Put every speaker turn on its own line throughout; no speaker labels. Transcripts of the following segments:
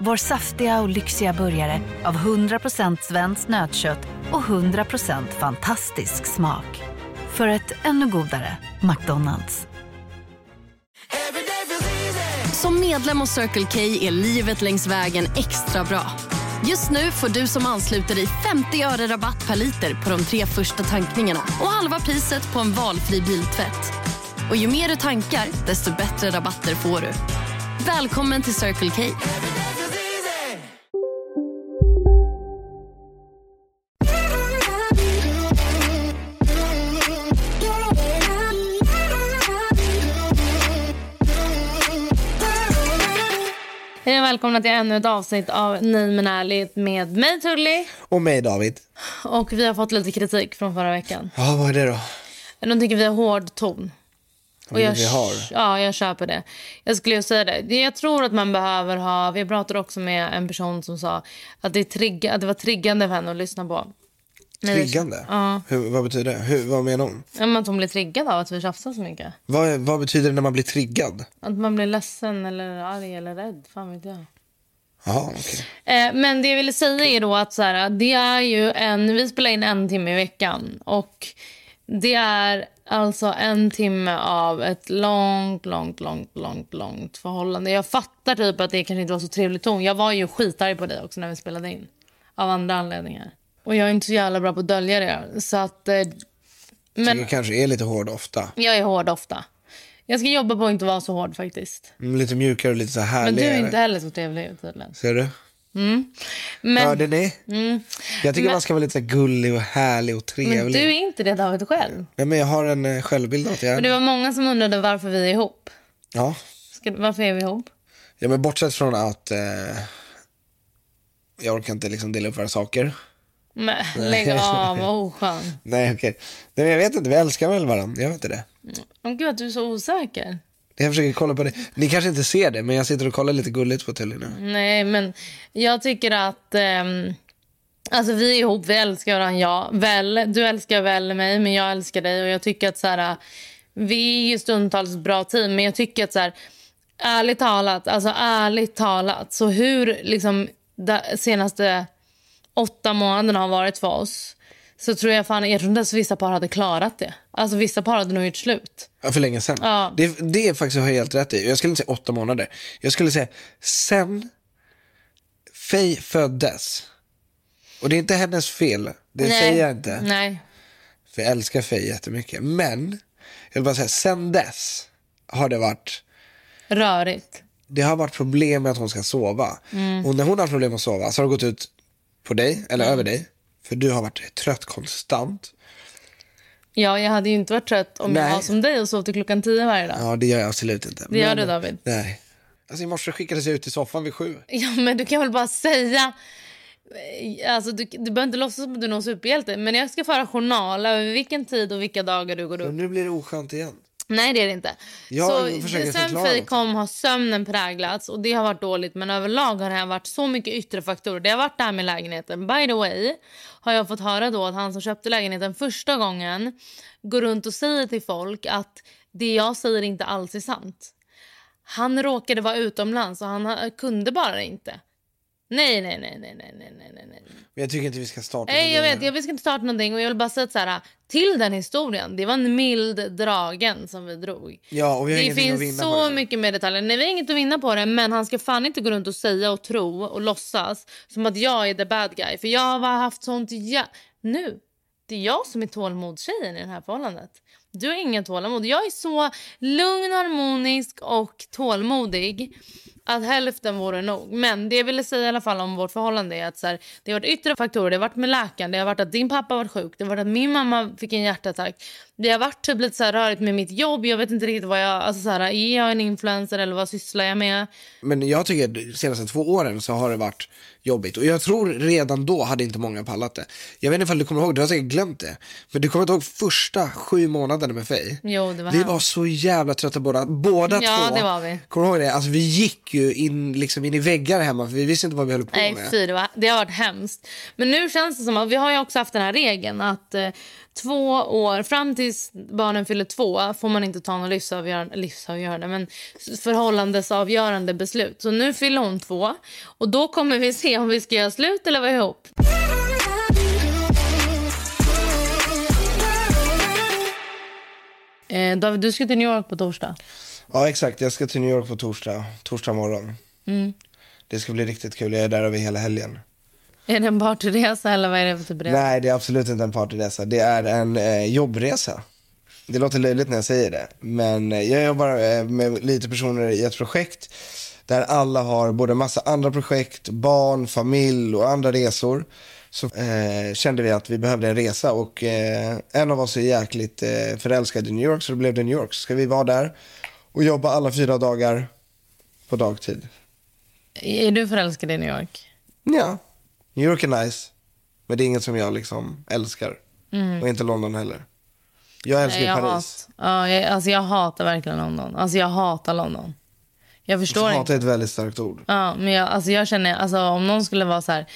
Vår saftiga och lyxiga burgare av 100% svenskt nötkött och 100% fantastisk smak. För ett ännu godare McDonalds.
Som medlem hos Circle K är livet längs vägen extra bra. Just nu får du som ansluter dig 50 öre rabatt per liter på de tre första tankningarna och halva priset på en valfri biltvätt. Och ju mer du tankar, desto bättre rabatter får du. Välkommen till Circle K.
Hej och välkomna till ännu ett avsnitt av Nej men ärligt med mig Tully.
Och mig David.
Och vi har fått lite kritik från förra veckan.
Ja, vad är det då?
De tycker vi har hård ton.
Vad är det vi har?
Ja, jag köper det. Jag skulle ju säga det. Det- Jag tror att man behöver ha... Vi pratade också med en person som sa att det, är trigga, att det var triggande för henne att lyssna på. Nej, det-
Triggande?
Ja.
Hur, vad betyder det? Hur, vad menar hon?
Ja, men Att hon blir triggad av att vi tjafsar så mycket.
Vad, vad betyder det när man blir triggad?
Att man blir ledsen eller arg eller rädd. Fan vet jag.
Jaha, okej.
Eh, Men det jag ville säga är då att så här, det är ju en, vi spelar in en timme i veckan. Och det är alltså en timme av ett långt, långt, långt, långt, långt förhållande. Jag fattar typ att det kanske inte var så trevlig ton. Jag var ju skitarg på dig också när vi spelade in. Av andra anledningar. Och jag är inte så jävla bra på att dölja det. Så att... eh, Men
Det kanske är lite hård ofta.
jag är hård ofta. Jag ska jobba på att inte vara så hård faktiskt.
Mm, Lite mjukare och lite så här
Men du är
härligare.
inte heller så trevlig tydligen.
Ser du?
Men... Mm.
Hörde ni? Jag tycker
Men-
man ska vara lite så här gullig och härlig och trevlig.
Men du är inte det David själv.
ja, men jag har en eh, självbild av att jag
Men
är
det
det.
var många som undrade varför vi är ihop.
Ja.
Ska, varför är vi ihop?
ja, men bortsett från att eh, jag orkar inte liksom dela upp våra saker.
Men, lägg av, vad oskön.
Nej, okej. Nej, men jag vet inte. Vi älskar väl varandra? Jag vet inte det.
Åh gud, du är så osäker.
Jag försöker kolla på det. Ni kanske inte ser det, men jag sitter och kollar lite gulligt på Tully nu.
Nej, men jag tycker att... ehm, alltså vi är ihop, vi älskar varandra, ja. Väl, du älskar väl mig, men jag älskar dig. Och jag tycker att så här, vi är ju stundtals bra team, men jag tycker att så här, ärligt talat, alltså ärligt talat, så hur liksom de senaste åtta månaderna har varit för oss så tror jag fan, jag tror inte ens vissa par hade klarat det. Alltså vissa par hade nog gjort slut.
Ja, för länge sedan.
Ja.
Det, det är faktiskt har jag helt rätt i. Jag skulle inte säga åtta månader. Jag skulle säga sen Faye föddes. Och det är inte hennes fel. Det säger jag inte.
Nej.
För jag älskar Faye jättemycket. Men jag vill bara säga, sen dess har det varit
Rörigt.
det har varit problem med att hon ska sova.
Mm.
Och när hon har problem med att sova så har det gått ut på dig, eller över dig. För du har varit trött konstant.
Ja, jag hade ju inte varit trött om jag
Nej.
var som dig och sov till klockan tio varje dag.
Ja, det gör jag absolut inte.
Det gör du, David.
Nej. Alltså i morse skickades jag ut i soffan vid sju.
Ja, men du kan väl bara säga... eh, Alltså, du, du behöver inte låtsas som att du är någon superhjälte. Men jag ska föra journal över vilken tid och vilka dagar du går upp.
Men nu blir det oskönt igen.
Nej, det är det inte.
Jag
så
försöker
sen
förklara
Fej
något.
kom har sömnen präglats och det har varit dåligt. Men överlag har det här varit så mycket yttre faktorer. Det har varit det här med lägenheten. By the way har jag fått höra då att han som köpte lägenheten första gången går runt och säger till folk att det jag säger inte alls är sant. Han råkade vara utomlands och han ha- kunde bara inte. Nej, nej, nej, nej, nej, nej, nej, nej, nej.
Men jag tycker inte vi ska starta
Nej, jag
med det.
vet. Jag ska inte starta någonting. Och jag vill bara säga att så här, till den historien, det var en mild dragen som vi drog.
Ja, och vi har
Det
ingenting att
finns
vinna
så
på det.
mycket mer detaljer. Nej, vi har inget att vinna på det, men han ska fan inte gå runt och säga och tro och låtsas som att jag är the bad guy. För jag har bara haft sånt... Ja... Nu, det är jag som är tålmodstjejen i det här förhållandet. Du har inget tålamod. Jag är så lugn, harmonisk och tålmodig att hälften vore nog. Men det jag ville säga i alla fall om vårt förhållande är att så här, det har varit yttre faktorer. Det har varit med läkaren, det har varit att din pappa var sjuk, det har varit att min mamma fick en hjärtattack. Det har varit typ lite så här rörigt med mitt jobb. Jag vet inte riktigt vad jag... Alltså så här, är jag en influencer eller vad sysslar jag med?
Men jag tycker de senaste två åren så har det varit jobbigt. Och jag tror redan då hade inte många pallat det. Jag vet inte om du kommer ihåg, du har säkert glömt det. Men du kommer inte ihåg första sju månaderna med Faye?
Jo, det var
Vi
hemskt.
var så jävla trötta båda, båda
Ja,
två.
det var vi.
Kommer du ihåg det? Alltså vi gick ju in, liksom in i väggar hemma för vi visste inte vad vi höll på
Nej,
med.
fy, det, var, det har varit hemskt. Men nu känns det som att vi har ju också haft den här regeln att eh, två år, fram tills barnen fyller två får man inte ta något livsavgörande, livsavgörande men s- förhållandesavgörande beslut. Så nu fyller hon två och då kommer vi se om vi ska göra slut eller vara ihop. Eh, David, du ska till New York på torsdag.
Ja exakt, jag ska till New York på torsdag, torsdag morgon.
Mm.
Det ska bli riktigt kul, jag är där över hela helgen.
Är det en partyresa eller vad är det för typ resa?
Nej, det är absolut inte en partyresa. Det är en eh, jobbresa. Det låter löjligt när jag säger det, men eh, jag jobbar eh, med lite personer i ett projekt där alla har både massa andra projekt, barn, familj och andra resor. Så eh, kände vi att vi behövde en resa och eh, en av oss är jäkligt eh, förälskad i New York så det blev det New York. Så ska vi vara där och jobba alla fyra dagar på dagtid.
Är du förälskad i New York?
Ja, New York är nice. Men det är inget som jag liksom älskar. Och inte London heller. Jag älskar
Mm. Nej, jag
ju Paris.
Hat, ja, jag, alltså jag hatar verkligen London. Alltså jag hatar London. Jag förstår
Hat
inte.
är ett väldigt starkt ord.
Ja, men jag, alltså jag känner, alltså om någon skulle vara så här,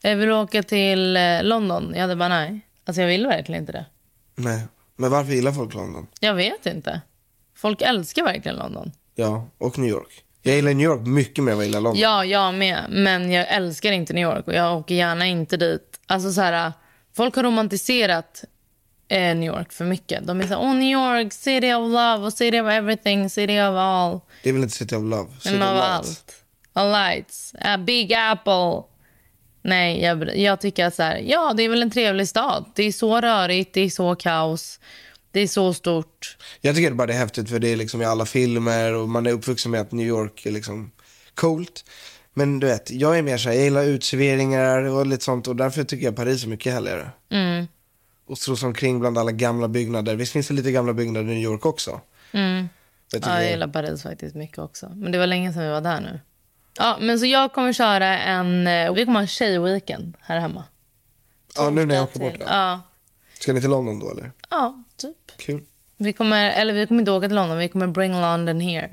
jag vill åka till eh, London. Jag hade bara nej. Alltså jag vill verkligen inte det.
Nej. Men varför gillar folk London?
Jag vet inte. Folk älskar verkligen London.
Ja, och New York. Jag gillar New York mycket mer än vad jag gillar London.
Ja, jag med. Men jag älskar inte New York och jag åker gärna inte dit. Alltså så här, folk har romantiserat eh, New York för mycket. De är så här, oh New York, city of love, och city of everything, city of all.
Det är väl inte City of Love? City
Men av
of Lights.
allt. All lights. A big apple. Nej, jag, jag tycker att så här, ja, det är väl en trevlig stad. Det är så rörigt, det är så kaos, det är så stort.
Jag tycker bara det är häftigt för det är liksom i alla filmer och man är uppvuxen med att New York är liksom coolt. Men du vet, jag är mer så här, jag gillar uteserveringar och lite sånt och därför tycker jag Paris är mycket härligare.
Mm.
och slås omkring bland alla gamla byggnader. Visst finns det lite gamla byggnader i New York också?
Mm.
Jag tycker
Ja, jag
det-
gillar Paris faktiskt mycket också. Men det var länge sedan vi var där nu. Ja, men så jag kommer köra en, eh, vi kommer ha en tjejweekend här hemma.
ja, nu när jag åker bort.
Till-
Ja.
Ja,
Ska ni till London då eller?
ja typ.
Kul.
Vi kommer, eller vi kommer inte åka till London, vi kommer bring London here.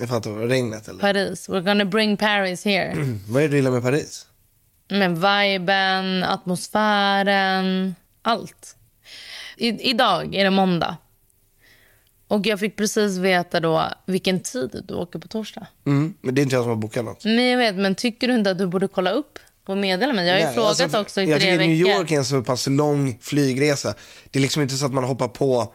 Jag fattar, vad- regnet eller? Mm.
Paris, we're gonna bring Paris here.
Vad är det du gillar med Paris?
Men viben, atmosfären, allt. I, idag är det måndag. Och jag fick precis veta då vilken tid du åker på torsdag.
Mm. Men det är inte jag som har bokat något.
Men jag vet, men tycker du inte att du borde kolla upp och meddela mig? Jag har ju
Nej,
frågat
alltså,
också i
Jag
tre
tycker
veckor.
New York är en så pass lång flygresa. Det är liksom inte så att man hoppar på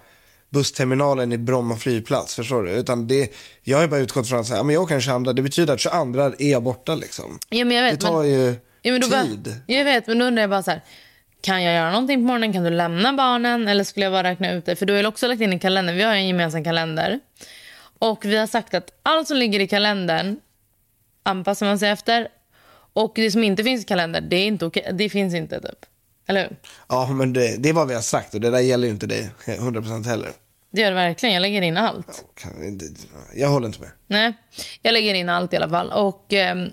bussterminalen i Bromma flygplats, förstår du? Utan det, jag har ju bara utgått från att säga, men jag åker den 22, det betyder att 22 är jag borta liksom.
ja, men jag
Det
vet,
tar
men,
ju
ja, men då bara-
tid.
Jag vet, men då undrar jag bara så här. Kan jag göra någonting på morgonen? Kan du lämna barnen? Eller skulle jag bara räkna ut det? För du har ju också lagt in i kalendern. Vi har ju en gemensam kalender. Och vi har sagt att allt som ligger i kalendern anpassar man sig efter. Och det som inte finns i kalendern, det är inte okej. Det finns inte typ. Eller hur?
Ja, men det, det är vad vi har sagt och det där gäller ju inte dig 100% heller.
Det gör det verkligen. Jag lägger in allt.
Kan inte, jag håller inte med.
Nej, jag lägger in allt i alla fall. Och, ehm,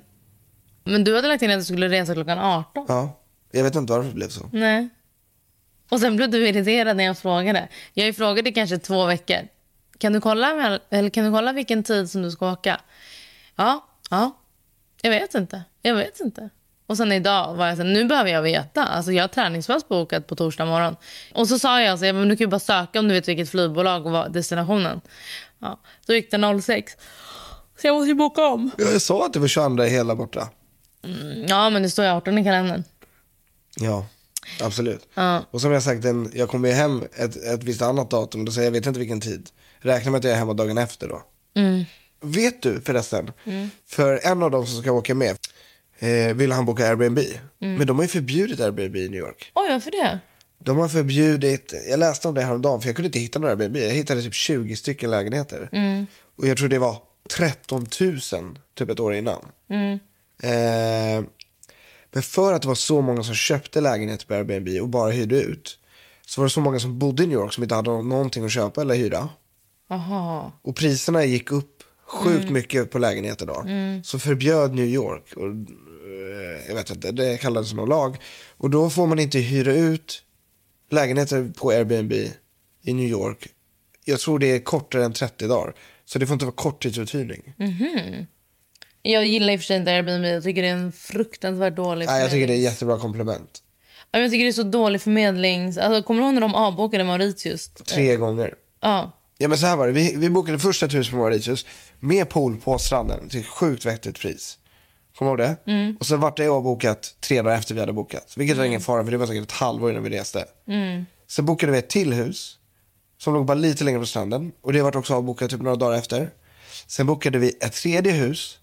men du hade lagt in att du skulle resa klockan 18.
Ja, jag vet inte varför det blev så.
Nej. Och sen blev du irriterad när jag frågade. Jag har ju frågat i kanske två veckor. Kan du kolla, väl- eller kan du kolla vilken tid som du ska åka? Ja, ja. Jag vet inte. Jag vet inte. Och sen idag var jag så här, nu behöver jag veta. Alltså jag har träningspass bokat på torsdag morgon. Och så sa jag så här, men du kan ju bara söka om du vet vilket flygbolag och vad destinationen. Ja, då gick det 06. Så jag måste ju boka om.
Jag sa att det var 22 hela borta.
Ja, men det står ju 18 i kalendern.
Ja, absolut.
Ja.
Och som jag sagt, en, jag kommer ju hem ett, ett visst annat datum, då säger jag vet inte vilken tid. Räkna med att jag är hemma dagen efter då. Vet du förresten, för en av dem som ska åka med eh, ville han boka Airbnb. Men de har ju förbjudit Airbnb i New York.
Oj, varför det?
De har förbjudit, jag läste om det häromdagen för jag kunde inte hitta några Airbnb. Jag hittade typ 20 stycken lägenheter. Och jag tror det var 13 000 typ ett år innan. Eh, men för att det var så många som köpte lägenheter på Airbnb och bara hyrde ut. Så var det så många som bodde i New York som inte hade nå- någonting att köpa eller hyra.
Aha.
Och priserna gick upp sjukt mycket på lägenheter då. Så förbjöd New York, och, eh, jag vet inte, det kallades någon lag. Och då får man inte hyra ut lägenheter på Airbnb i New York. Jag tror det är kortare än 30 dagar. Så det får inte vara korttidsuthyrning.
Jag gillar i och för sig inte Airbnb. Jag tycker det är en fruktansvärt dålig
Nej, jag tycker det är
förmedling.
ett jättebra komplement.
Ja, men jag tycker det är så dålig förmedling. Alltså, kommer du ihåg när de avbokade Mauritius?
Tre gånger.
Ja.
Ja men så här var det, vi, vi bokade först ett hus på Mauritius med pool på stranden till sjukt vettigt pris. Kommer du ihåg det?
Mm.
Och sen vart det avbokat tre dagar efter vi hade bokat. Vilket var ingen fara för det var säkert ett halvår innan vi reste.
Mm.
Sen bokade vi ett till hus som låg bara lite längre på stranden och det vart också avbokat typ några dagar efter. Sen bokade vi ett tredje hus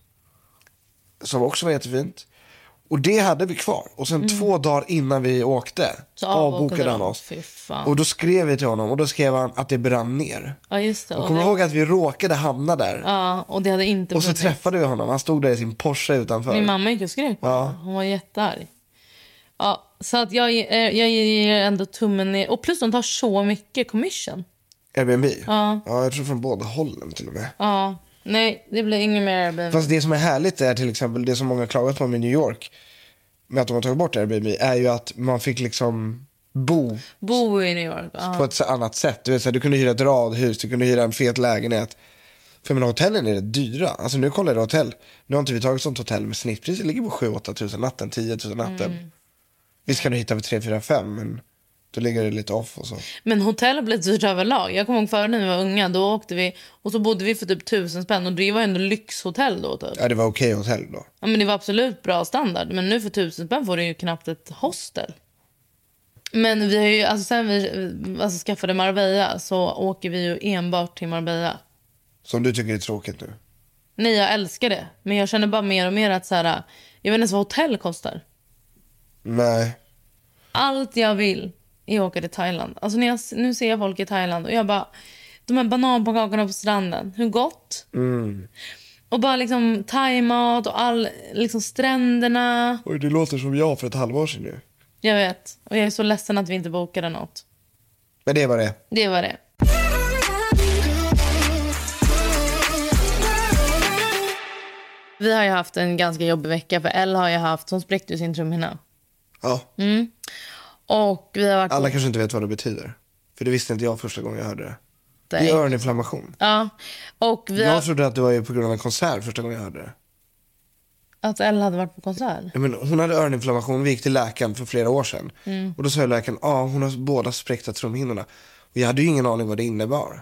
som också var jättefint. Och det hade vi kvar. Och sen två dagar innan vi åkte
Mm. Så avbokade
avbokade han
de.
oss.
Fy fan.
Och då skrev vi till honom och då skrev han att det brann ner.
ja, just det.
Jag
Och
kommer
det,
ihåg att vi råkade hamna där.
ja, och det hade inte
och så
funnits.
träffade vi honom. Han stod där i sin Porsche utanför.
Min mamma gick och skrek på
Ja.
honom. Hon var jättearg. Ja, så att jag, eh, jag ger ändå tummen ner. Och plus de tar så mycket commission.
Airbnb.
Ja.
jag tror från båda hållen till och med.
Ja, nej det blir inget mer Airbnb.
Fast det som är härligt är till exempel det som många klagat på med New York. Med att de har tagit bort Airbnb. Är ju att man fick liksom bo
Bo i New York. Ja.
på ett så- annat sätt. Du, vet, så här, du kunde hyra ett radhus, du kunde hyra en fet lägenhet. För men hotellen är rätt dyra. Alltså nu kollar jag hotell. Nu har inte vi tagit sånt hotell med snittpriset ligger på 7-8 tusen natten, 10 tusen natten. Visst kan du hitta för 3-4-5 men då ligger det lite off och så.
Men hotell blev dyrt överlag. Jag kommer ihåg förr när vi var unga. Då åkte vi och så bodde vi för typ tusen spänn. Och det var ändå lyxhotell då typ.
Ja det var okej hotell då.
Ja, men det var absolut bra standard. Men nu för tusen spänn får du ju knappt ett hostel. Men vi har ju, alltså sen vi alltså, skaffade Marbella så åker vi ju enbart till Marbella.
Som du tycker är tråkigt nu.
Nej, jag älskar det. Men jag känner bara mer och mer att så här, jag vet inte ens vad hotell kostar.
Nej.
Allt jag vill är att åka till Thailand. Alltså när jag, nu ser jag folk i Thailand och jag bara... De här bananpannkakorna på stranden, hur gott? Och bara liksom thaimat och all, liksom stränderna.
Oj det låter som jag för ett halvår sedan nu.
Jag vet. Och jag är så ledsen att vi inte bokade något.
Men det var det.
Det var det. Vi har ju haft en ganska jobbig vecka för Elle har ju haft, hon spräckte ju sin trumhinna.
Ja.
Och vi har varit
Alla kanske inte vet vad det betyder. För det visste inte jag första gången jag hörde det.
ute
Det
i-
är öroninflammation.
Ja. Och vi har...
Jag trodde att det var ju på grund av en konsert första gången jag hörde det.
Att Elle hade varit på konsert.
Ja, men hon hade öroninflammation, vi gick till läkaren för flera år sedan. Och då sa läkaren, ja ah, hon har båda spräckta trumhinnorna. Och jag hade ju ingen aning vad det innebar.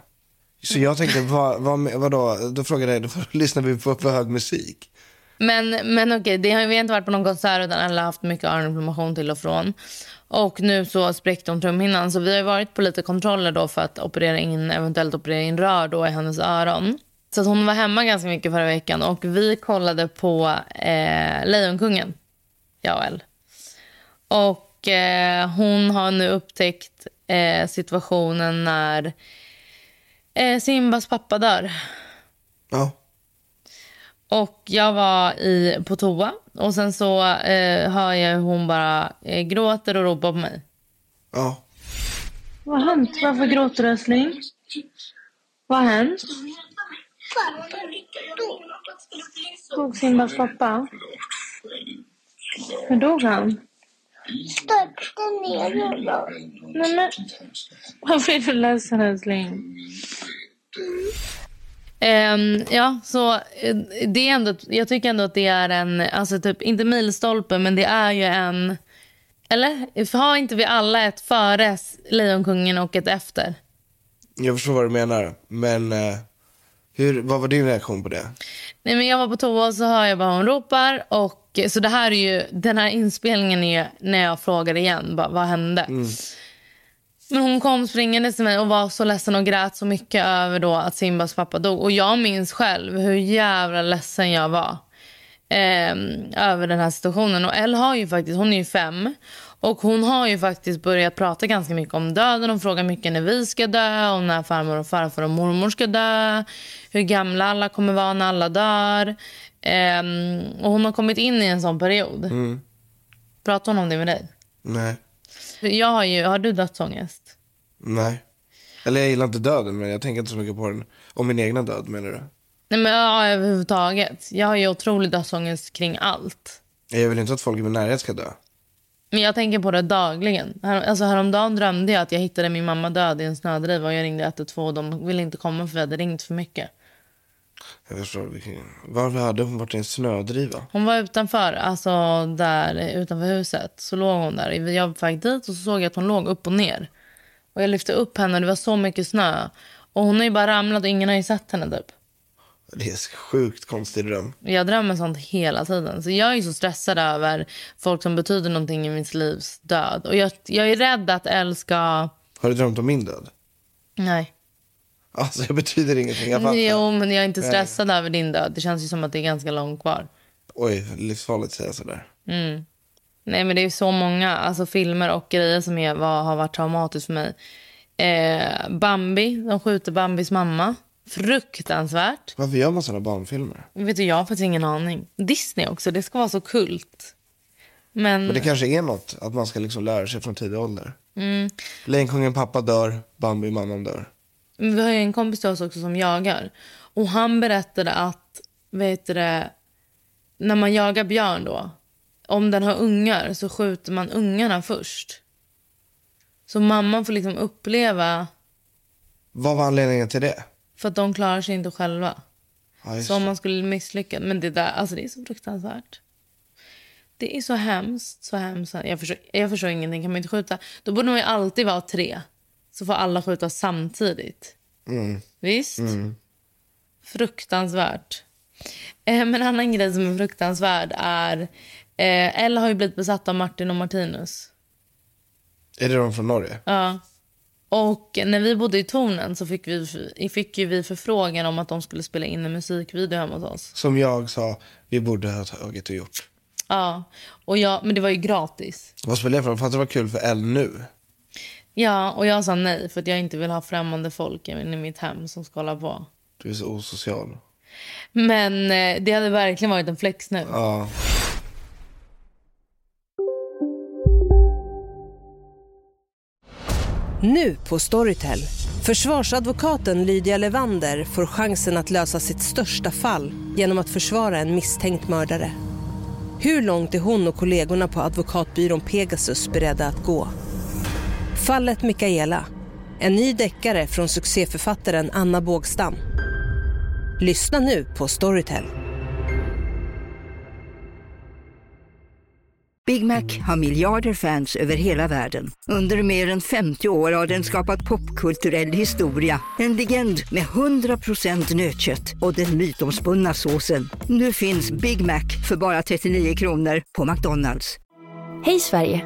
Så jag tänkte, vad, vad, vadå? Då frågade jag, då lyssnade vi på för hög musik.
Men, men okej, det har, vi har inte varit på någon konsert utan alla har haft mycket öroninflammation till och från. Och nu så spräckte hon trumhinnan så vi har ju varit på lite kontroller då för att operera in, eventuellt operera in rör då i hennes öron. Så att hon var hemma ganska mycket förra veckan och vi kollade på eh, Lejonkungen, jag och Elle. Och eh, hon har nu upptäckt eh, situationen när eh, Simbas pappa dör.
Ja.
Och jag var i, på toa och sen så eh, hör jag hur hon bara eh, gråter och ropar på mig.
Ja.
Vad har hänt? Varför gråter du älskling? Vad har hänt? Dog Simbas pappa? Hur dog han?
största ner
Nej men, varför är du ledsen älskling? Ehm, ja, så eh, det är ändå, jag tycker ändå att det är en, alltså typ, inte milstolpe, men det är ju en... Eller? Har inte vi alla ett före Lejonkungen och ett efter?
Jag förstår vad du menar, men eh, hur, vad var din reaktion på det?
Nej, men jag var på toa och så hör jag bara hon ropar. Och, så det här är ju, den här inspelningen är ju när jag frågar igen, bara, vad hände? Men hon kom springande till mig och var så ledsen och grät så mycket över då att Simbas pappa dog. Och jag minns själv hur jävla ledsen jag var. ehm, över den här situationen. Och Elle har ju faktiskt, hon är ju fem. Och hon har ju faktiskt börjat prata ganska mycket om döden. Hon frågar mycket när vi ska dö, och när farmor och farfar och mormor ska dö. Hur gamla alla kommer vara när alla dör. Ehm, och hon har kommit in i en sån period. Mm. Pratar hon om det med dig?
Nej.
Jag har ju, har du dödsångest?
Nej. Eller jag gillar inte döden, men jag tänker inte så mycket på den. Om min egna död, menar du?
Nej men ja, överhuvudtaget. Jag har ju otrolig dödsångest kring allt.
Jag vill inte att folk i min närhet ska dö.
Men jag tänker på det dagligen. Här, alltså häromdagen drömde jag att jag hittade min mamma död i en snödriva och jag ringde 112 och de ville inte komma för vi hade ringt för mycket.
Jag förstår. vilken- Varför hade hon varit i en snödriva?
Hon var utanför, alltså där eh, utanför huset. Så låg hon där. Jag var på väg dit och så såg jag att hon låg upp och ner. Och jag lyfte upp henne och det var så mycket snö. Och hon har ju bara ramlat och ingen har ju sett henne typ.
Det är en sjukt konstig dröm.
Jag drömmer sånt hela tiden. Så jag är ju så stressad över folk som betyder någonting i mitt livs död. Och jag, jag är rädd att älska...
Har du drömt om min död?
Nej.
Alltså, jag betyder ingenting. Jag fattar.
Jo, men jag är inte stressad över din död. Det känns ju som att det är ganska långt kvar.
Oj, livsfarligt att säga sådär.
Nej, men det är ju så många alltså, filmer och grejer som är, vad, har varit traumatiskt för mig. Eh, Bambi, de skjuter Bambis mamma. Fruktansvärt.
Varför gör man sådana barnfilmer?
Vet du, jag har faktiskt ingen aning. Disney också, det ska vara så kult. Men,
Men
Mm.
det kanske är något, att man ska liksom lära sig från tidig ålder. Lejonkungen pappa dör, Bambi mamman dör.
vi har ju en kompis till oss också som jagar. Och han berättade att, vet du det, när man jagar björn då, om den har ungar så skjuter man ungarna först. Så mamman får liksom uppleva
Vad var anledningen till det?
För att de klarar sig inte själva.
Ja, just
Så om
det.
man skulle misslyckas. Men det där, alltså det är så fruktansvärt. Det är så hemskt, så hemskt. Jag förstår, jag förstår ingenting, kan man inte skjuta? Då borde man ju alltid vara tre. Så får alla skjuta samtidigt.
Mm.
Visst? Fruktansvärt. Eh, men en annan grej som är fruktansvärd är... Eh, Ella har ju blivit besatt av Martin och Martinus.
Är det de från Norge?
Ja. Och när vi bodde i tornen så fick, vi, fick ju vi förfrågan om att de skulle spela in en musikvideo hemma hos oss.
Som jag sa, vi borde ha tagit och gjort.
Ja. Och jag, men det var ju gratis.
Vad spelar det för roll? Fattar det var kul för L nu.
Ja, och jag sa nej för att jag inte vill ha främmande folk in i mitt hem som ska hålla på.
Du är så osocial.
Men eh, det hade verkligen varit en flex nu.
Ja.
Nu på Storytel. Försvarsadvokaten Lydia Levander får chansen att lösa sitt största fall genom att försvara en misstänkt mördare. Hur långt är hon och kollegorna på advokatbyrån Pegasus beredda att gå? Fallet Mikaela. En ny deckare från succéförfattaren Anna Bågstam. Lyssna nu på Storytel.
Big Mac har miljarder fans över hela världen. Under mer än 50 år har den skapat popkulturell historia. En legend med 100% nötkött och den mytomspunna såsen. Nu finns Big Mac för bara 39 kronor på McDonalds.
Hej Sverige!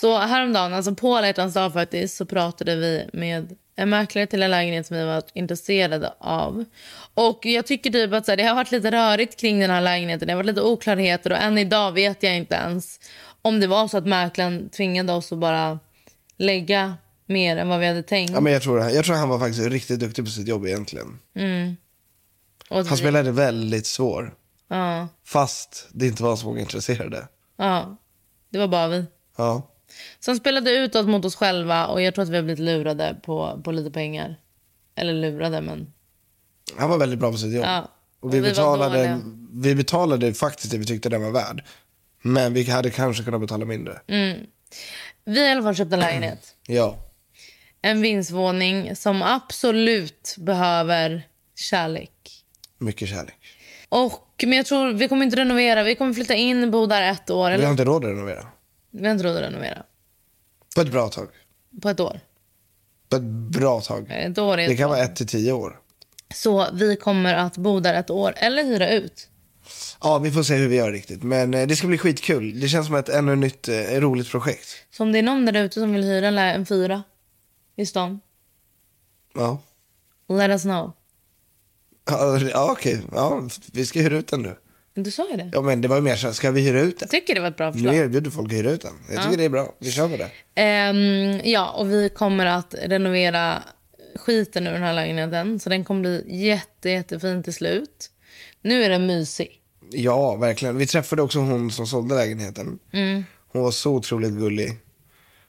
Så häromdagen, alltså på Alla dag faktiskt, så pratade vi med en mäklare till en lägenhet som vi var intresserade av. Och jag tycker typ att så här, det har varit lite rörigt kring den här lägenheten. Det har varit lite oklarheter och än idag vet jag inte ens om det var så att mäklaren tvingade oss att bara lägga mer än vad vi hade tänkt.
Ja, men jag, tror, det här- jag tror han var faktiskt riktigt duktig på sitt jobb egentligen.
och
Han spelade väldigt svår.
ja,
Fast det inte var så många intresserade.
ja, det var bara vi.
Ja.
Som spelade utåt mot oss själva och jag tror att vi har blivit lurade på, på lite pengar. Eller lurade, men...
Han var väldigt bra på sitt jobb.
Ja.
Och
Och
vi,
vi var
betalade,
dåliga.
vi betalade faktiskt det vi tyckte den var värd. Men vi hade kanske kunnat betala mindre.
Mm. Vi har i alla fall köpt en lägenhet.
Ja.
en vindsvåning som absolut behöver kärlek.
Mycket kärlek.
Och, men jag tror vi kommer inte renovera. Vi kommer flytta in, bo där ett år.
Vi har
Eller,
inte råd att renovera.
vi har inte råd att renovera.
På ett bra tag.
På ett år.
På ett bra tag.
Ett år är
Det
ett
kan
år.
vara ett till tio år.
Så vi kommer att bo där ett år, eller hyra ut.
Ja, vi får se hur vi gör riktigt. Men eh, det ska bli skitkul. Det känns som ett ännu nytt eh, roligt projekt.
Så om det är någon där ute som vill hyra en lä- en fyra i stan,
Ja,
let us know.
ja ja, okej. Ja, vi ska hyra ut den nu.
Du sa ju det.
Ja, men det var ju mer så här, ska vi hyra ut den?
Jag tycker det var ett bra förslag.
Nu erbjuder folk att hyra ut den. Jag tycker det är bra. Vi kör på det.
Ehm, ja, och vi kommer att renovera skiten ur den här lägenheten. Så den kommer bli jätte, jättefin till slut. Nu är den mysig.
Ja, verkligen. Vi träffade också hon som sålde lägenheten.
Mm.
Hon var så otroligt gullig.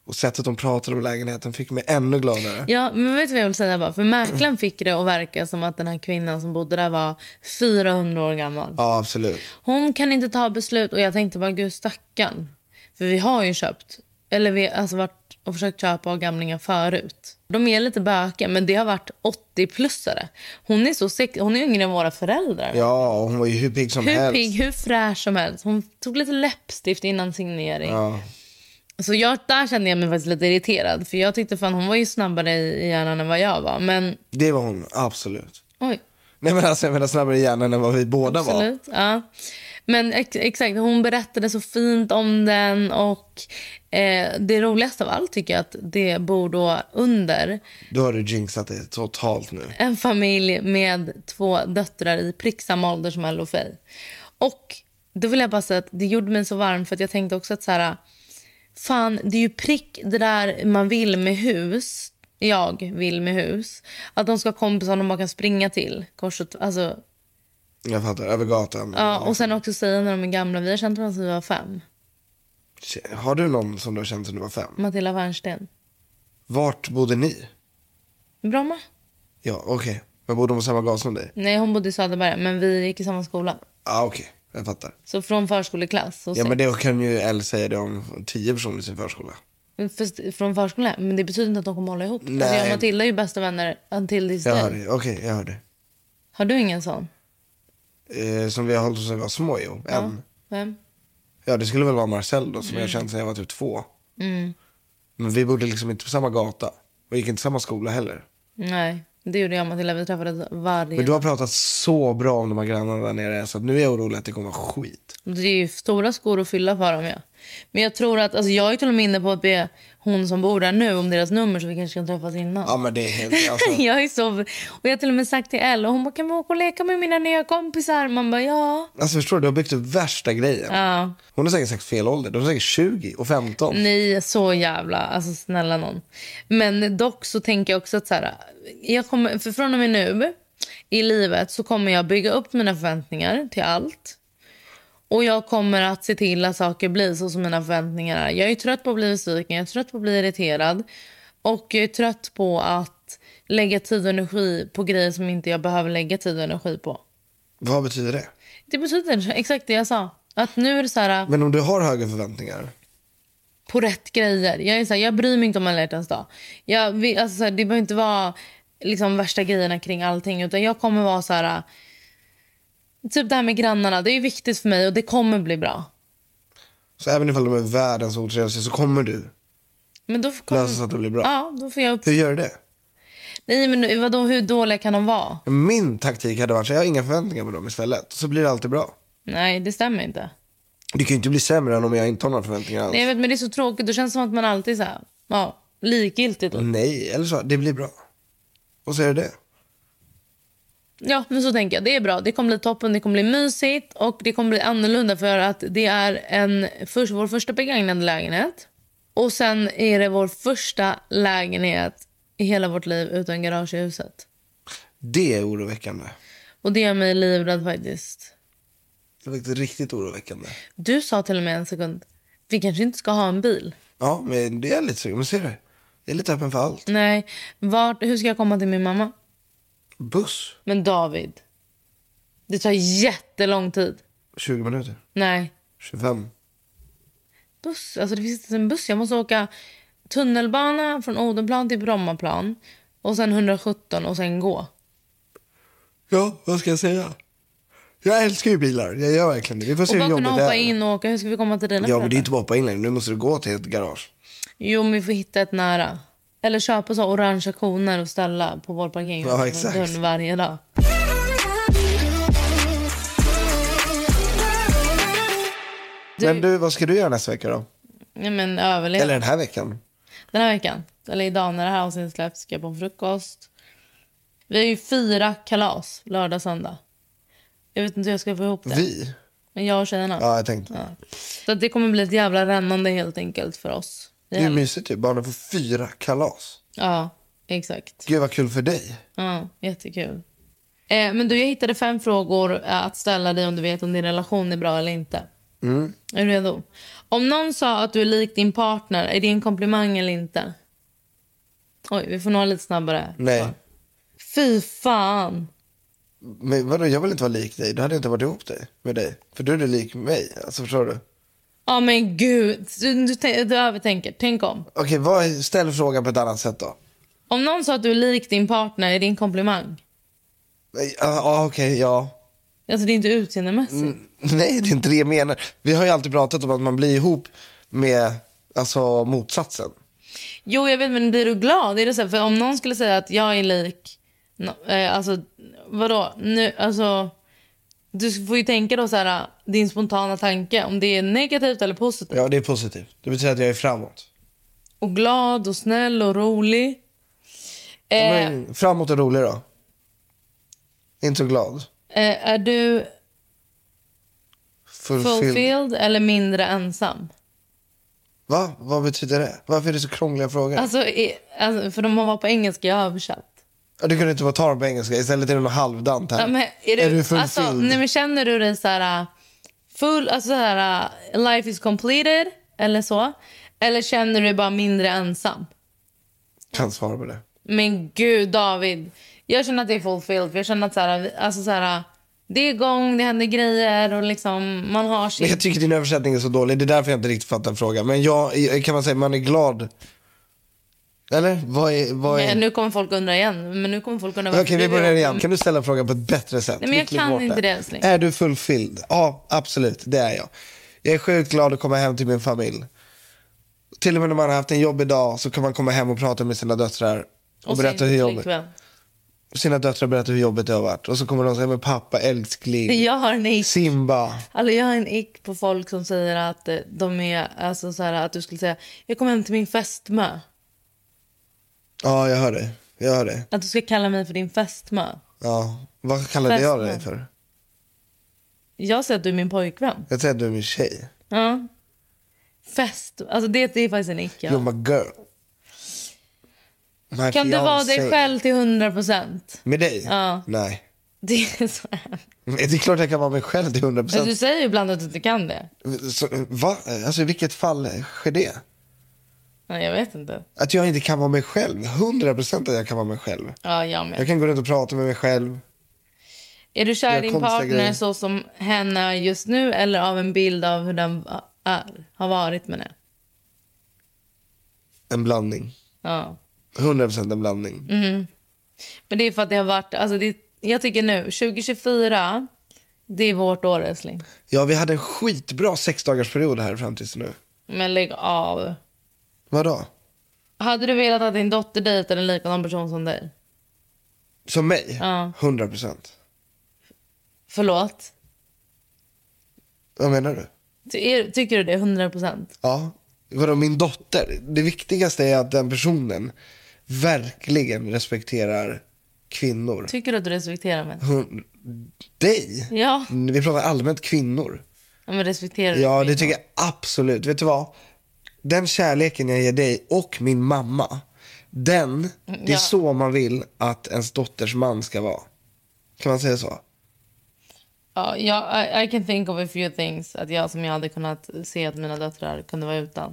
Och sättet hon pratade om lägenheten fick mig ännu gladare.
Ja, men vet du vad jag vill säga bara? För mäklaren fick det att verka som att den här kvinnan som bodde där var 400 år gammal.
Ja, absolut.
Hon kan inte ta beslut och jag tänkte bara gud stackarn. För vi har ju köpt, eller vi har alltså varit och försökt köpa av gamlingar förut. De är lite bökiga men det har varit 80-plussare. Hon är så sex- hon är yngre än våra föräldrar.
Ja, och hon var ju hur pigg som
Hur
helst.
pigg, hur fräsch som helst. Hon tog lite läppstift innan signering.
Ja.
Så jag, där kände jag mig faktiskt lite irriterad. För jag tyckte fan hon var ju snabbare i i hjärnan än vad jag var. Men
Det var hon, absolut.
oj,
Nej men alltså jag menar snabbare i hjärnan än vad vi båda var.
absolut. Ja. Men ex, exakt, hon berättade så fint om den. Och eh, det roligaste av allt tycker jag att det bor då under
Då har du jinxat det totalt nu.
en familj med två döttrar i prick samma ålder som Elle och Faye. Och då vill jag bara säga att det gjorde mig så varm för att jag tänkte också att så här, fan det är ju prick det där man vill med hus, jag vill med hus, att de ska ha kompisar de bara kan springa till. Korset, alltså,
Jag fattar, över gatan.
ja, och sen också säga när de är gamla, vi har känt varandra sedan vi var fem.
Har du någon som du har känt sedan du var fem?
Matilda Wernsten.
Vart bodde ni?
Bromma?
Ja, okej. Men bodde hon på samma gatan som dig?
Nej hon bodde i Söderberga men vi gick i samma skola.
Ja, ah, okej. Jag fattar.
Så från förskoleklass. Och
Ja, men det kan ju Elle säga det om tio personer i sin förskola.
Fast från förskolan, men det betyder inte att de kommer hålla ihop. Alltså
Nej.
jag och Matilda är ju bästa vänner until this
Jag
day.
hörde, okej, jag hörde.
Har du ingen sån?
Eh, som vi har hållit oss när vi var små, jo. En.
Vem?
Ja, det skulle väl vara Marcel då, som
Mm.
jag har känt sedan jag var typ två. Men vi bodde liksom inte på samma gata. Och gick inte i samma skola heller.
Nej, det gjorde jag och Matilda. Vi träffades varje...
Men du har pratat så bra om de här grannarna där nere så att nu är jag orolig att det kommer vara skit.
Det är ju stora skor att fylla för dem. Ja. Men jag tror att, alltså jag är till och med inne på att be hon som bor där nu om deras nummer så vi kanske kan träffas innan.
Ja men det är helt, alltså,
jag är så... Och jag har till och med sagt till Elle, och hon bara kan vi åka och leka med mina nya kompisar? Man bara ja.
alltså förstår du, du har byggt upp värsta grejen.
Ja.
Hon har säkert sagt fel ålder, de är säkert 20 och 15.
Nej, så jävla. Alltså snälla någon. Men dock så tänker jag också att så här, jag kommer, för från och med nu i livet så kommer jag bygga upp mina förväntningar till allt. Och jag kommer att se till att saker blir så som mina förväntningar är. Jag är trött på att bli besviken, jag är trött på att bli irriterad. Och jag är trött på att lägga tid och energi på grejer som inte jag behöver lägga tid och energi på.
Vad betyder det?
Det betyder exakt det jag sa. Att nu är det så här...
Men om du har höga förväntningar,
på rätt grejer. Jag, är så här, jag bryr mig inte om alla hjärtans dag. Jag, vill- alltså, så här, det behöver inte vara liksom, värsta grejerna kring allting. Utan jag kommer vara så här... Typ det här med grannarna. Det är viktigt för mig och det kommer bli bra.
så även ifall de är världens otrevligaste så kommer du
Men då får- kommer...
lösa så att det blir bra.
Ja, då får jag upp...
Hur gör du det?
Nej, men vadå, hur dåliga kan de vara?
Min taktik hade varit så jag har inga förväntningar på dem istället. Så blir det alltid bra.
Nej, det stämmer inte.
Det kan ju inte bli sämre än om jag inte har några förväntningar alls.
Nej, jag vet, men det är så tråkigt. Då känns det som att man alltid är så här, ja, likgiltig. Typ.
Nej, eller så, det blir bra. Och så är det det.
Ja, men så tänker jag. Det är bra. Det kommer bli toppen, det kommer bli mysigt och det kommer bli annorlunda för att det är en, först, vår första begagnade lägenhet. Och sen är det vår första lägenhet i hela vårt liv utan garage i huset.
Det är oroväckande.
Och det gör mig livrädd faktiskt.
Det är faktiskt riktigt oroväckande.
Du sa till och med en sekund, vi kanske inte ska ha en bil.
Ja, men det är lite så. Men ser du? Jag är lite öppen för allt.
Nej, vart, hur ska jag komma till min mamma?
Buss,
Men David, det tar jättelång tid.
20 minuter.
Nej,
25.
buss. Alltså det finns inte ens en buss. Jag måste åka tunnelbana från Odenplan till Brommaplan och sen 117 och sen gå.
Ja, vad ska jag säga? Jag älskar ju bilar. Jag gör verkligen det. Vi får
Och
se hur
bara kunna
jobbigt det är.
hoppa in och åka. Hur ska vi komma till dina
Ja, men det är
föräldrar?
inte bara hoppa in längre. Nu måste du gå till ett garage.
Jo, men vi får hitta ett nära. Eller köpa så orangea koner och ställa på vår parkering
Ja, exakt.
dörren varje dag.
Men du, vad ska du göra nästa vecka då?
Nej, men överleva.
Eller den här veckan?
Den här veckan, eller idag när det här avsnittet släpps, ska jag på en frukost. Vi har ju fyra kalas lördag, söndag. Jag vet inte hur jag ska få ihop det.
Vi?
Men jag och tjejerna.
Ja, jag tänkte.
Så att det kommer bli ett jävla rännande helt enkelt för oss.
Det är ju mysigt ju. Barnen får fyra kalas.
Ja, exakt.
Gud vad kul för dig.
Ja, jättekul. Eh, men du, jag hittade fem frågor eh, att ställa dig om du vet om din relation är bra eller inte. Är du redo? Om någon sa att du är lik din partner, är det en komplimang eller inte? Oj, vi får nog ha lite snabbare.
Nej.
Fy fan!
Men vadå, jag vill inte vara lik dig. Då hade jag inte varit ihop dig med dig. För du är lik mig. Alltså förstår du?
Ja, men gud. Du, du, tän- du övertänker. Tänk om.
Okej, vad, ställ frågan på ett annat sätt då.
Om någon sa att du är lik din partner, är det en komplimang?
Nej, Ja, ja, okej, ja.
Alltså, det är inte utseendemässigt.
Nej, det är inte det jag menar. Vi har ju alltid pratat om att man blir ihop med alltså, motsatsen.
Jo, jag vet, men blir du glad? Är det så här, för om någon skulle säga att jag är lik... No, eh, alltså, vadå? Nu, alltså, du får ju tänka då så här, din spontana tanke, om det är negativt eller positivt.
Ja, det är positivt. Det betyder att jag är framåt.
Och glad och snäll och rolig. Eh,
Men, framåt och rolig då? Inte så glad?
eh, är du
Fulfilled.
fulfilled eller mindre ensam?
Va? Vad betyder det? Varför är det så krångliga frågor?
Alltså, i, alltså, för de har varit på engelska, jag har översatt.
Ja, Du kunde inte vara tar på engelska. Istället är det någon halvdant här.
Ja, men är du,
är du fulfilled?
Alltså, nej, men känner du dig så här... äh, Full, alltså så här, äh, life is completed eller så. Eller känner du dig bara mindre ensam?
Kan svara på det.
Men gud, David. Jag känner att det är fulfilled. För jag känner att så här, alltså så här, äh, det är igång, det händer grejer och liksom, man har
Men
sitt.
jag tycker din översättning är så dålig. Det är därför jag inte riktigt fattar frågan. Men jag, kan man säga man är glad? Eller? Vad är... Vad är...
Men nu kommer folk undra igen. Men nu kommer folk undra
Okej,
varför du
vi
är
börjar
ihop
igen.
med-
Kan du ställa frågan på ett bättre sätt?
Nej, men jag
Vi klipper
kan
bort
inte det älskling.
Är du fulfilled? Ja, absolut. Det är jag. Jag är sjukt glad att komma hem till min familj. Till och med när man har haft en jobbig dag så kan man komma hem och prata med sina döttrar. Och,
så
berätta
är
hur
det
jobbigt,
flickvän.
sina döttrar berättar hur jobbigt det har varit. Och så kommer de säga, men pappa älskling,
Jag har en ick.
Simba.
Alltså jag har en ick på folk som säger att eh, de är, alltså så här, att du skulle säga jag kom hem till min fästmö.
Ja, jag hör dig. Jag hör dig.
Att du ska kalla mig för din fästmö.
Ja. Vad kallade jag dig
Fästmö.
för?
Jag säger att du är min pojkvän.
Jag säger att du är min tjej.
Ja. Fest, alltså det, det är faktiskt en ick. jag har.
You're my girl. My
Kan du vara dig
fiancé.
själv till 100 procent?
Med dig?
Ja.
Nej.
Det är så här.
Men Det är klart jag kan vara mig själv till 100
Alltså, du
procent.
säger ju ibland att du inte kan det.
Va? Alltså i vilket fall sker det?
Nej, jag vet inte.
Att jag inte kan vara mig själv? 100 procent att jag kan vara mig själv.
Ja, jag med.
Jag kan gå runt och prata med mig själv.
Är du kär i
Jag
din
konstiga
partner
grejer.
så som henne är just nu eller av en bild av hur den va- är, har varit med det?
En blandning.
Ja.
100 procent en blandning.
Men det är för att det har varit... Alltså det, jag tycker nu, 2024, det är vårt år, älskling.
Ja, vi hade en skitbra sexdagarsperiod här fram tills nu.
Men lägg av.
Vadå?
Hade du velat att din dotter dejtade en likadan person som dig?
Som mig?
Ja.
100 procent.
Förlåt?
Vad menar du?
Ty, är, tycker du det? 100 procent?
Ja. Vadå, min dotter? Det viktigaste är att den personen verkligen respekterar kvinnor.
Tycker du att du respekterar mig?
Hon, dig?
Ja.
Vi pratar allmänt kvinnor.
ja men respekterar du
Ja,
mig?
det tycker jag absolut. Vet du vad? Den kärleken jag ger dig och min mamma, den, det är
ja.
så man vill att ens dotters man ska vara. Kan man säga så?
Ja, jag, I, I can think of a few things att jag, som jag hade kunnat se att mina döttrar kunde vara utan.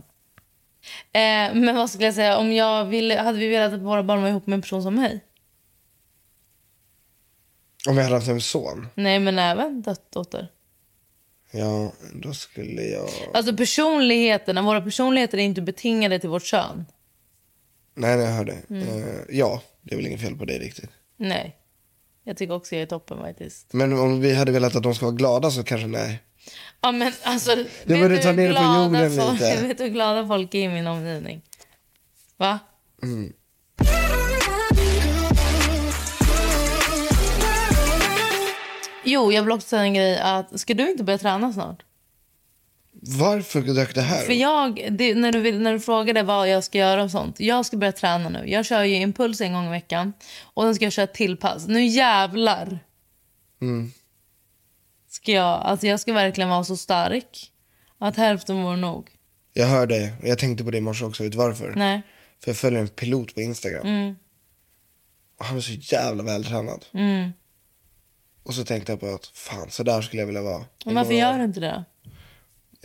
Eh, men vad skulle jag säga? Om jag ville, hade vi velat att våra barn var ihop med en person som mig?
Om jag hade haft en son,
Nej, men även dot- dotter.
ja, då skulle jag...
Alltså personligheterna, våra personligheter är inte betingade till vårt kön.
Nej, nej, jag hörde.
Mm.
Eh, ja, det är väl inget fel på det riktigt.
Nej. Jag tycker också jag är toppen faktiskt.
Men om vi hade velat att de ska vara glada så kanske nej.
Ja men alltså,
men du tar
hur
ner det på
glada
jorden
folk,
lite.
Vet du hur glada folk är i min omgivning? Va?
Mm.
Jo, jag vill också säga en grej. Att, ska du inte börja träna snart?
Varför dök det här
För
upp?
jag, det, när, du vill, när du frågade vad jag ska göra och sånt. Jag ska börja träna nu. Jag kör ju impuls en gång i veckan. Och sen ska jag köra ett till pass. Nu jävlar
Mm.
ska jag... Alltså jag ska verkligen vara så stark att hälften vore nog.
Jag hörde, och jag tänkte på det i morse också, vet du varför?
Nej.
För jag följer en pilot på Instagram. Och han är så jävla vältränad.
Mm.
Och så tänkte jag på att fan, så där skulle jag vilja vara.
Men varför gör du inte det då?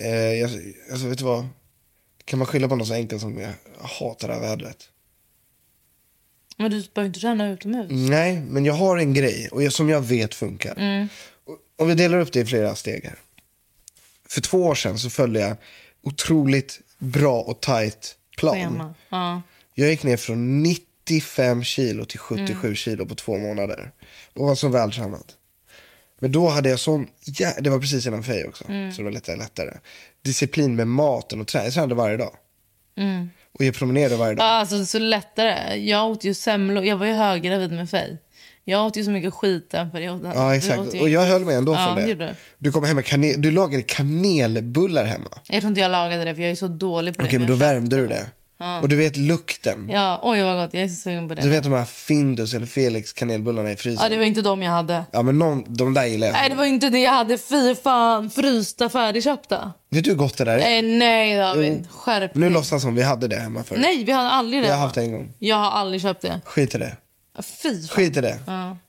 Eh, jag, alltså vet du vad? Kan man skylla på något så enkelt som jag hatar det här vädret?
Men du behöver inte träna utomhus.
Nej, men jag har en grej och jag, som jag vet funkar. Och- Om vi delar upp det i flera steg här. För två år sedan så följde jag otroligt bra och tajt plan.
Schema. Ja.
Jag gick ner från 95 kilo till 77 kilo på två månader. Och var så vältränad. Men då hade jag sån, ja, det var precis innan Fej också, så det var lite lättare. Disciplin med maten och träning. Jag tränade varje dag. Och jag promenerade varje dag.
Ja, Alltså, så lättare. Jag åt ju semlor. Jag var ju höggravid med Faye. Jag åt ju så mycket skit den perioden.
Ja,
Du åt
exakt.
ju-
Och jag höll mig ändå
Ja,
från
det
det.
gjorde du.
Du kom hem med kanel, du lagade kanelbullar hemma. Okej,
Jag tror inte jag lagade det för jag är så dålig på det.
men då värmde du det. Och du vet lukten.
Ja, oj vad gott. Jag är så sugen på det.
Du vet de här Findus eller Felix kanelbullarna i frysen.
Ja, det var inte de jag hade.
Ja, men någon, de där gillar jag.
Nej, det var inte det jag hade. Fy fan, frysta färdigköpta.
Vet du hur gott det där är?
Nej, nej David. Skärp
Nu
dig.
låtsas som vi hade det hemma förut.
Nej, vi har aldrig det.
Jag har haft det en gång.
Jag har aldrig köpt det.
Skit i det.
Fy fan.
Skit i det.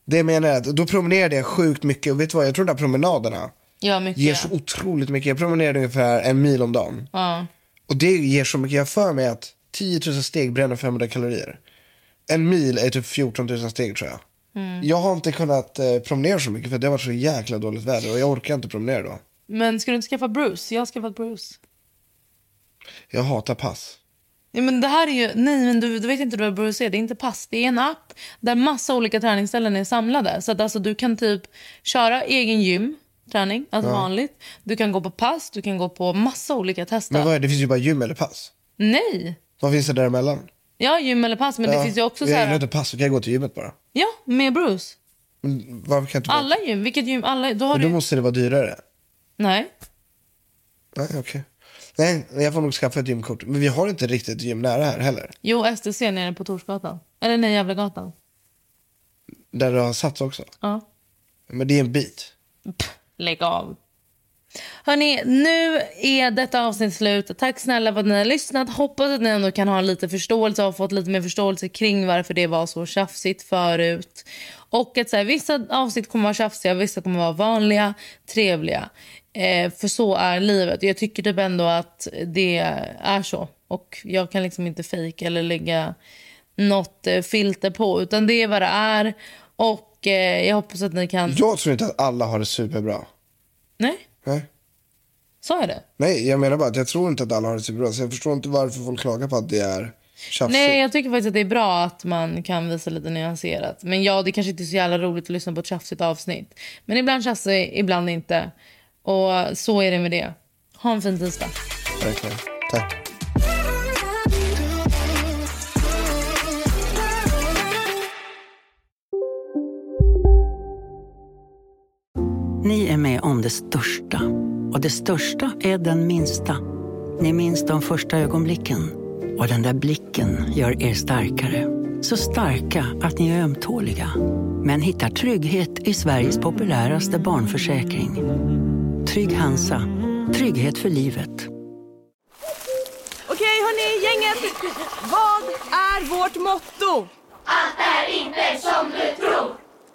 Det menar jag. att- Då promenerade jag sjukt mycket. Och vet du vad? Jag tror de där promenaderna
Ja, mycket.
ger så otroligt mycket. Jag promenerade ungefär en mil om dagen.
Ja.
Och det ger så mycket. Jag har för mig att 10 000 steg bränner 500 kalorier. En mil är typ 14 000 steg tror jag.
Mm.
Jag har inte kunnat eh, promenera så mycket för det har varit så jäkla dåligt väder och jag orkar inte promenera då.
Men ska du inte skaffa Bruce? Jag har skaffat Bruce.
Jag hatar pass.
Ja, men det här är ju, nej, men du, du vet inte vad Bruce är. Det är inte pass. Det är en app där massa olika träningsställen är samlade. Så att alltså, du kan typ köra egen gym, träning, alltså vanligt. Du kan gå på pass, du kan gå på massa olika tester.
Men vad är det? Det finns ju bara gym eller pass.
Nej!
Vad finns det däremellan?
Ja, gym eller pass. Men det finns ju också
jag
så
gillar
här...
inte pass, så kan jag gå till gymmet bara.
Ja, med Bruce.
Men varför kan jag inte bara...
Alla gym. Vilket gym? Alla, då har
Men då
du...
måste det vara dyrare.
Nej.
Nej, okej. Nej, jag får nog skaffa ett gymkort. Men vi har inte riktigt gym nära här heller.
Jo, STC nere på Torsgatan. Eller nej, Gävlegatan.
Där du har sats också.
Ja.
Men det är en bit.
Lägg av. Hörni, nu är detta avsnitt slut. Tack snälla för att ni har lyssnat. Hoppas att ni ändå kan ha lite förståelse och har fått lite mer förståelse kring varför det var så tjafsigt förut. Och att så här, vissa avsnitt kommer vara tjafsiga, vissa kommer vara vanliga, trevliga. Eh, för så är livet. Jag tycker typ ändå att det är så. Och jag kan liksom inte fejka eller lägga något eh, filter på. Utan det är vad det är. Och eh, jag hoppas att ni kan...
Jag tror inte att alla har det superbra.
Nej?
Nej.
Sa jag det?
Nej, jag menar bara att jag tror inte att alla har det superbra. Så jag förstår inte varför folk klagar på att det är tjafsigt.
Nej, jag tycker faktiskt att det är bra att man kan visa lite nyanserat. Men ja, det kanske inte är så jävla roligt att lyssna på ett tjafsigt avsnitt. Men ibland tjafsig, ibland inte. Och så är det med det. Ha en fin tisdag.
Verkligen. Tack.
Ni är med om det största. Och det största är den minsta. Ni minns de första ögonblicken. Och den där blicken gör er starkare. Så starka att ni är ömtåliga. Men hittar trygghet i Sveriges populäraste barnförsäkring. Trygg Hansa. Trygghet för livet.
Okej hörni, gänget! Vad är vårt motto?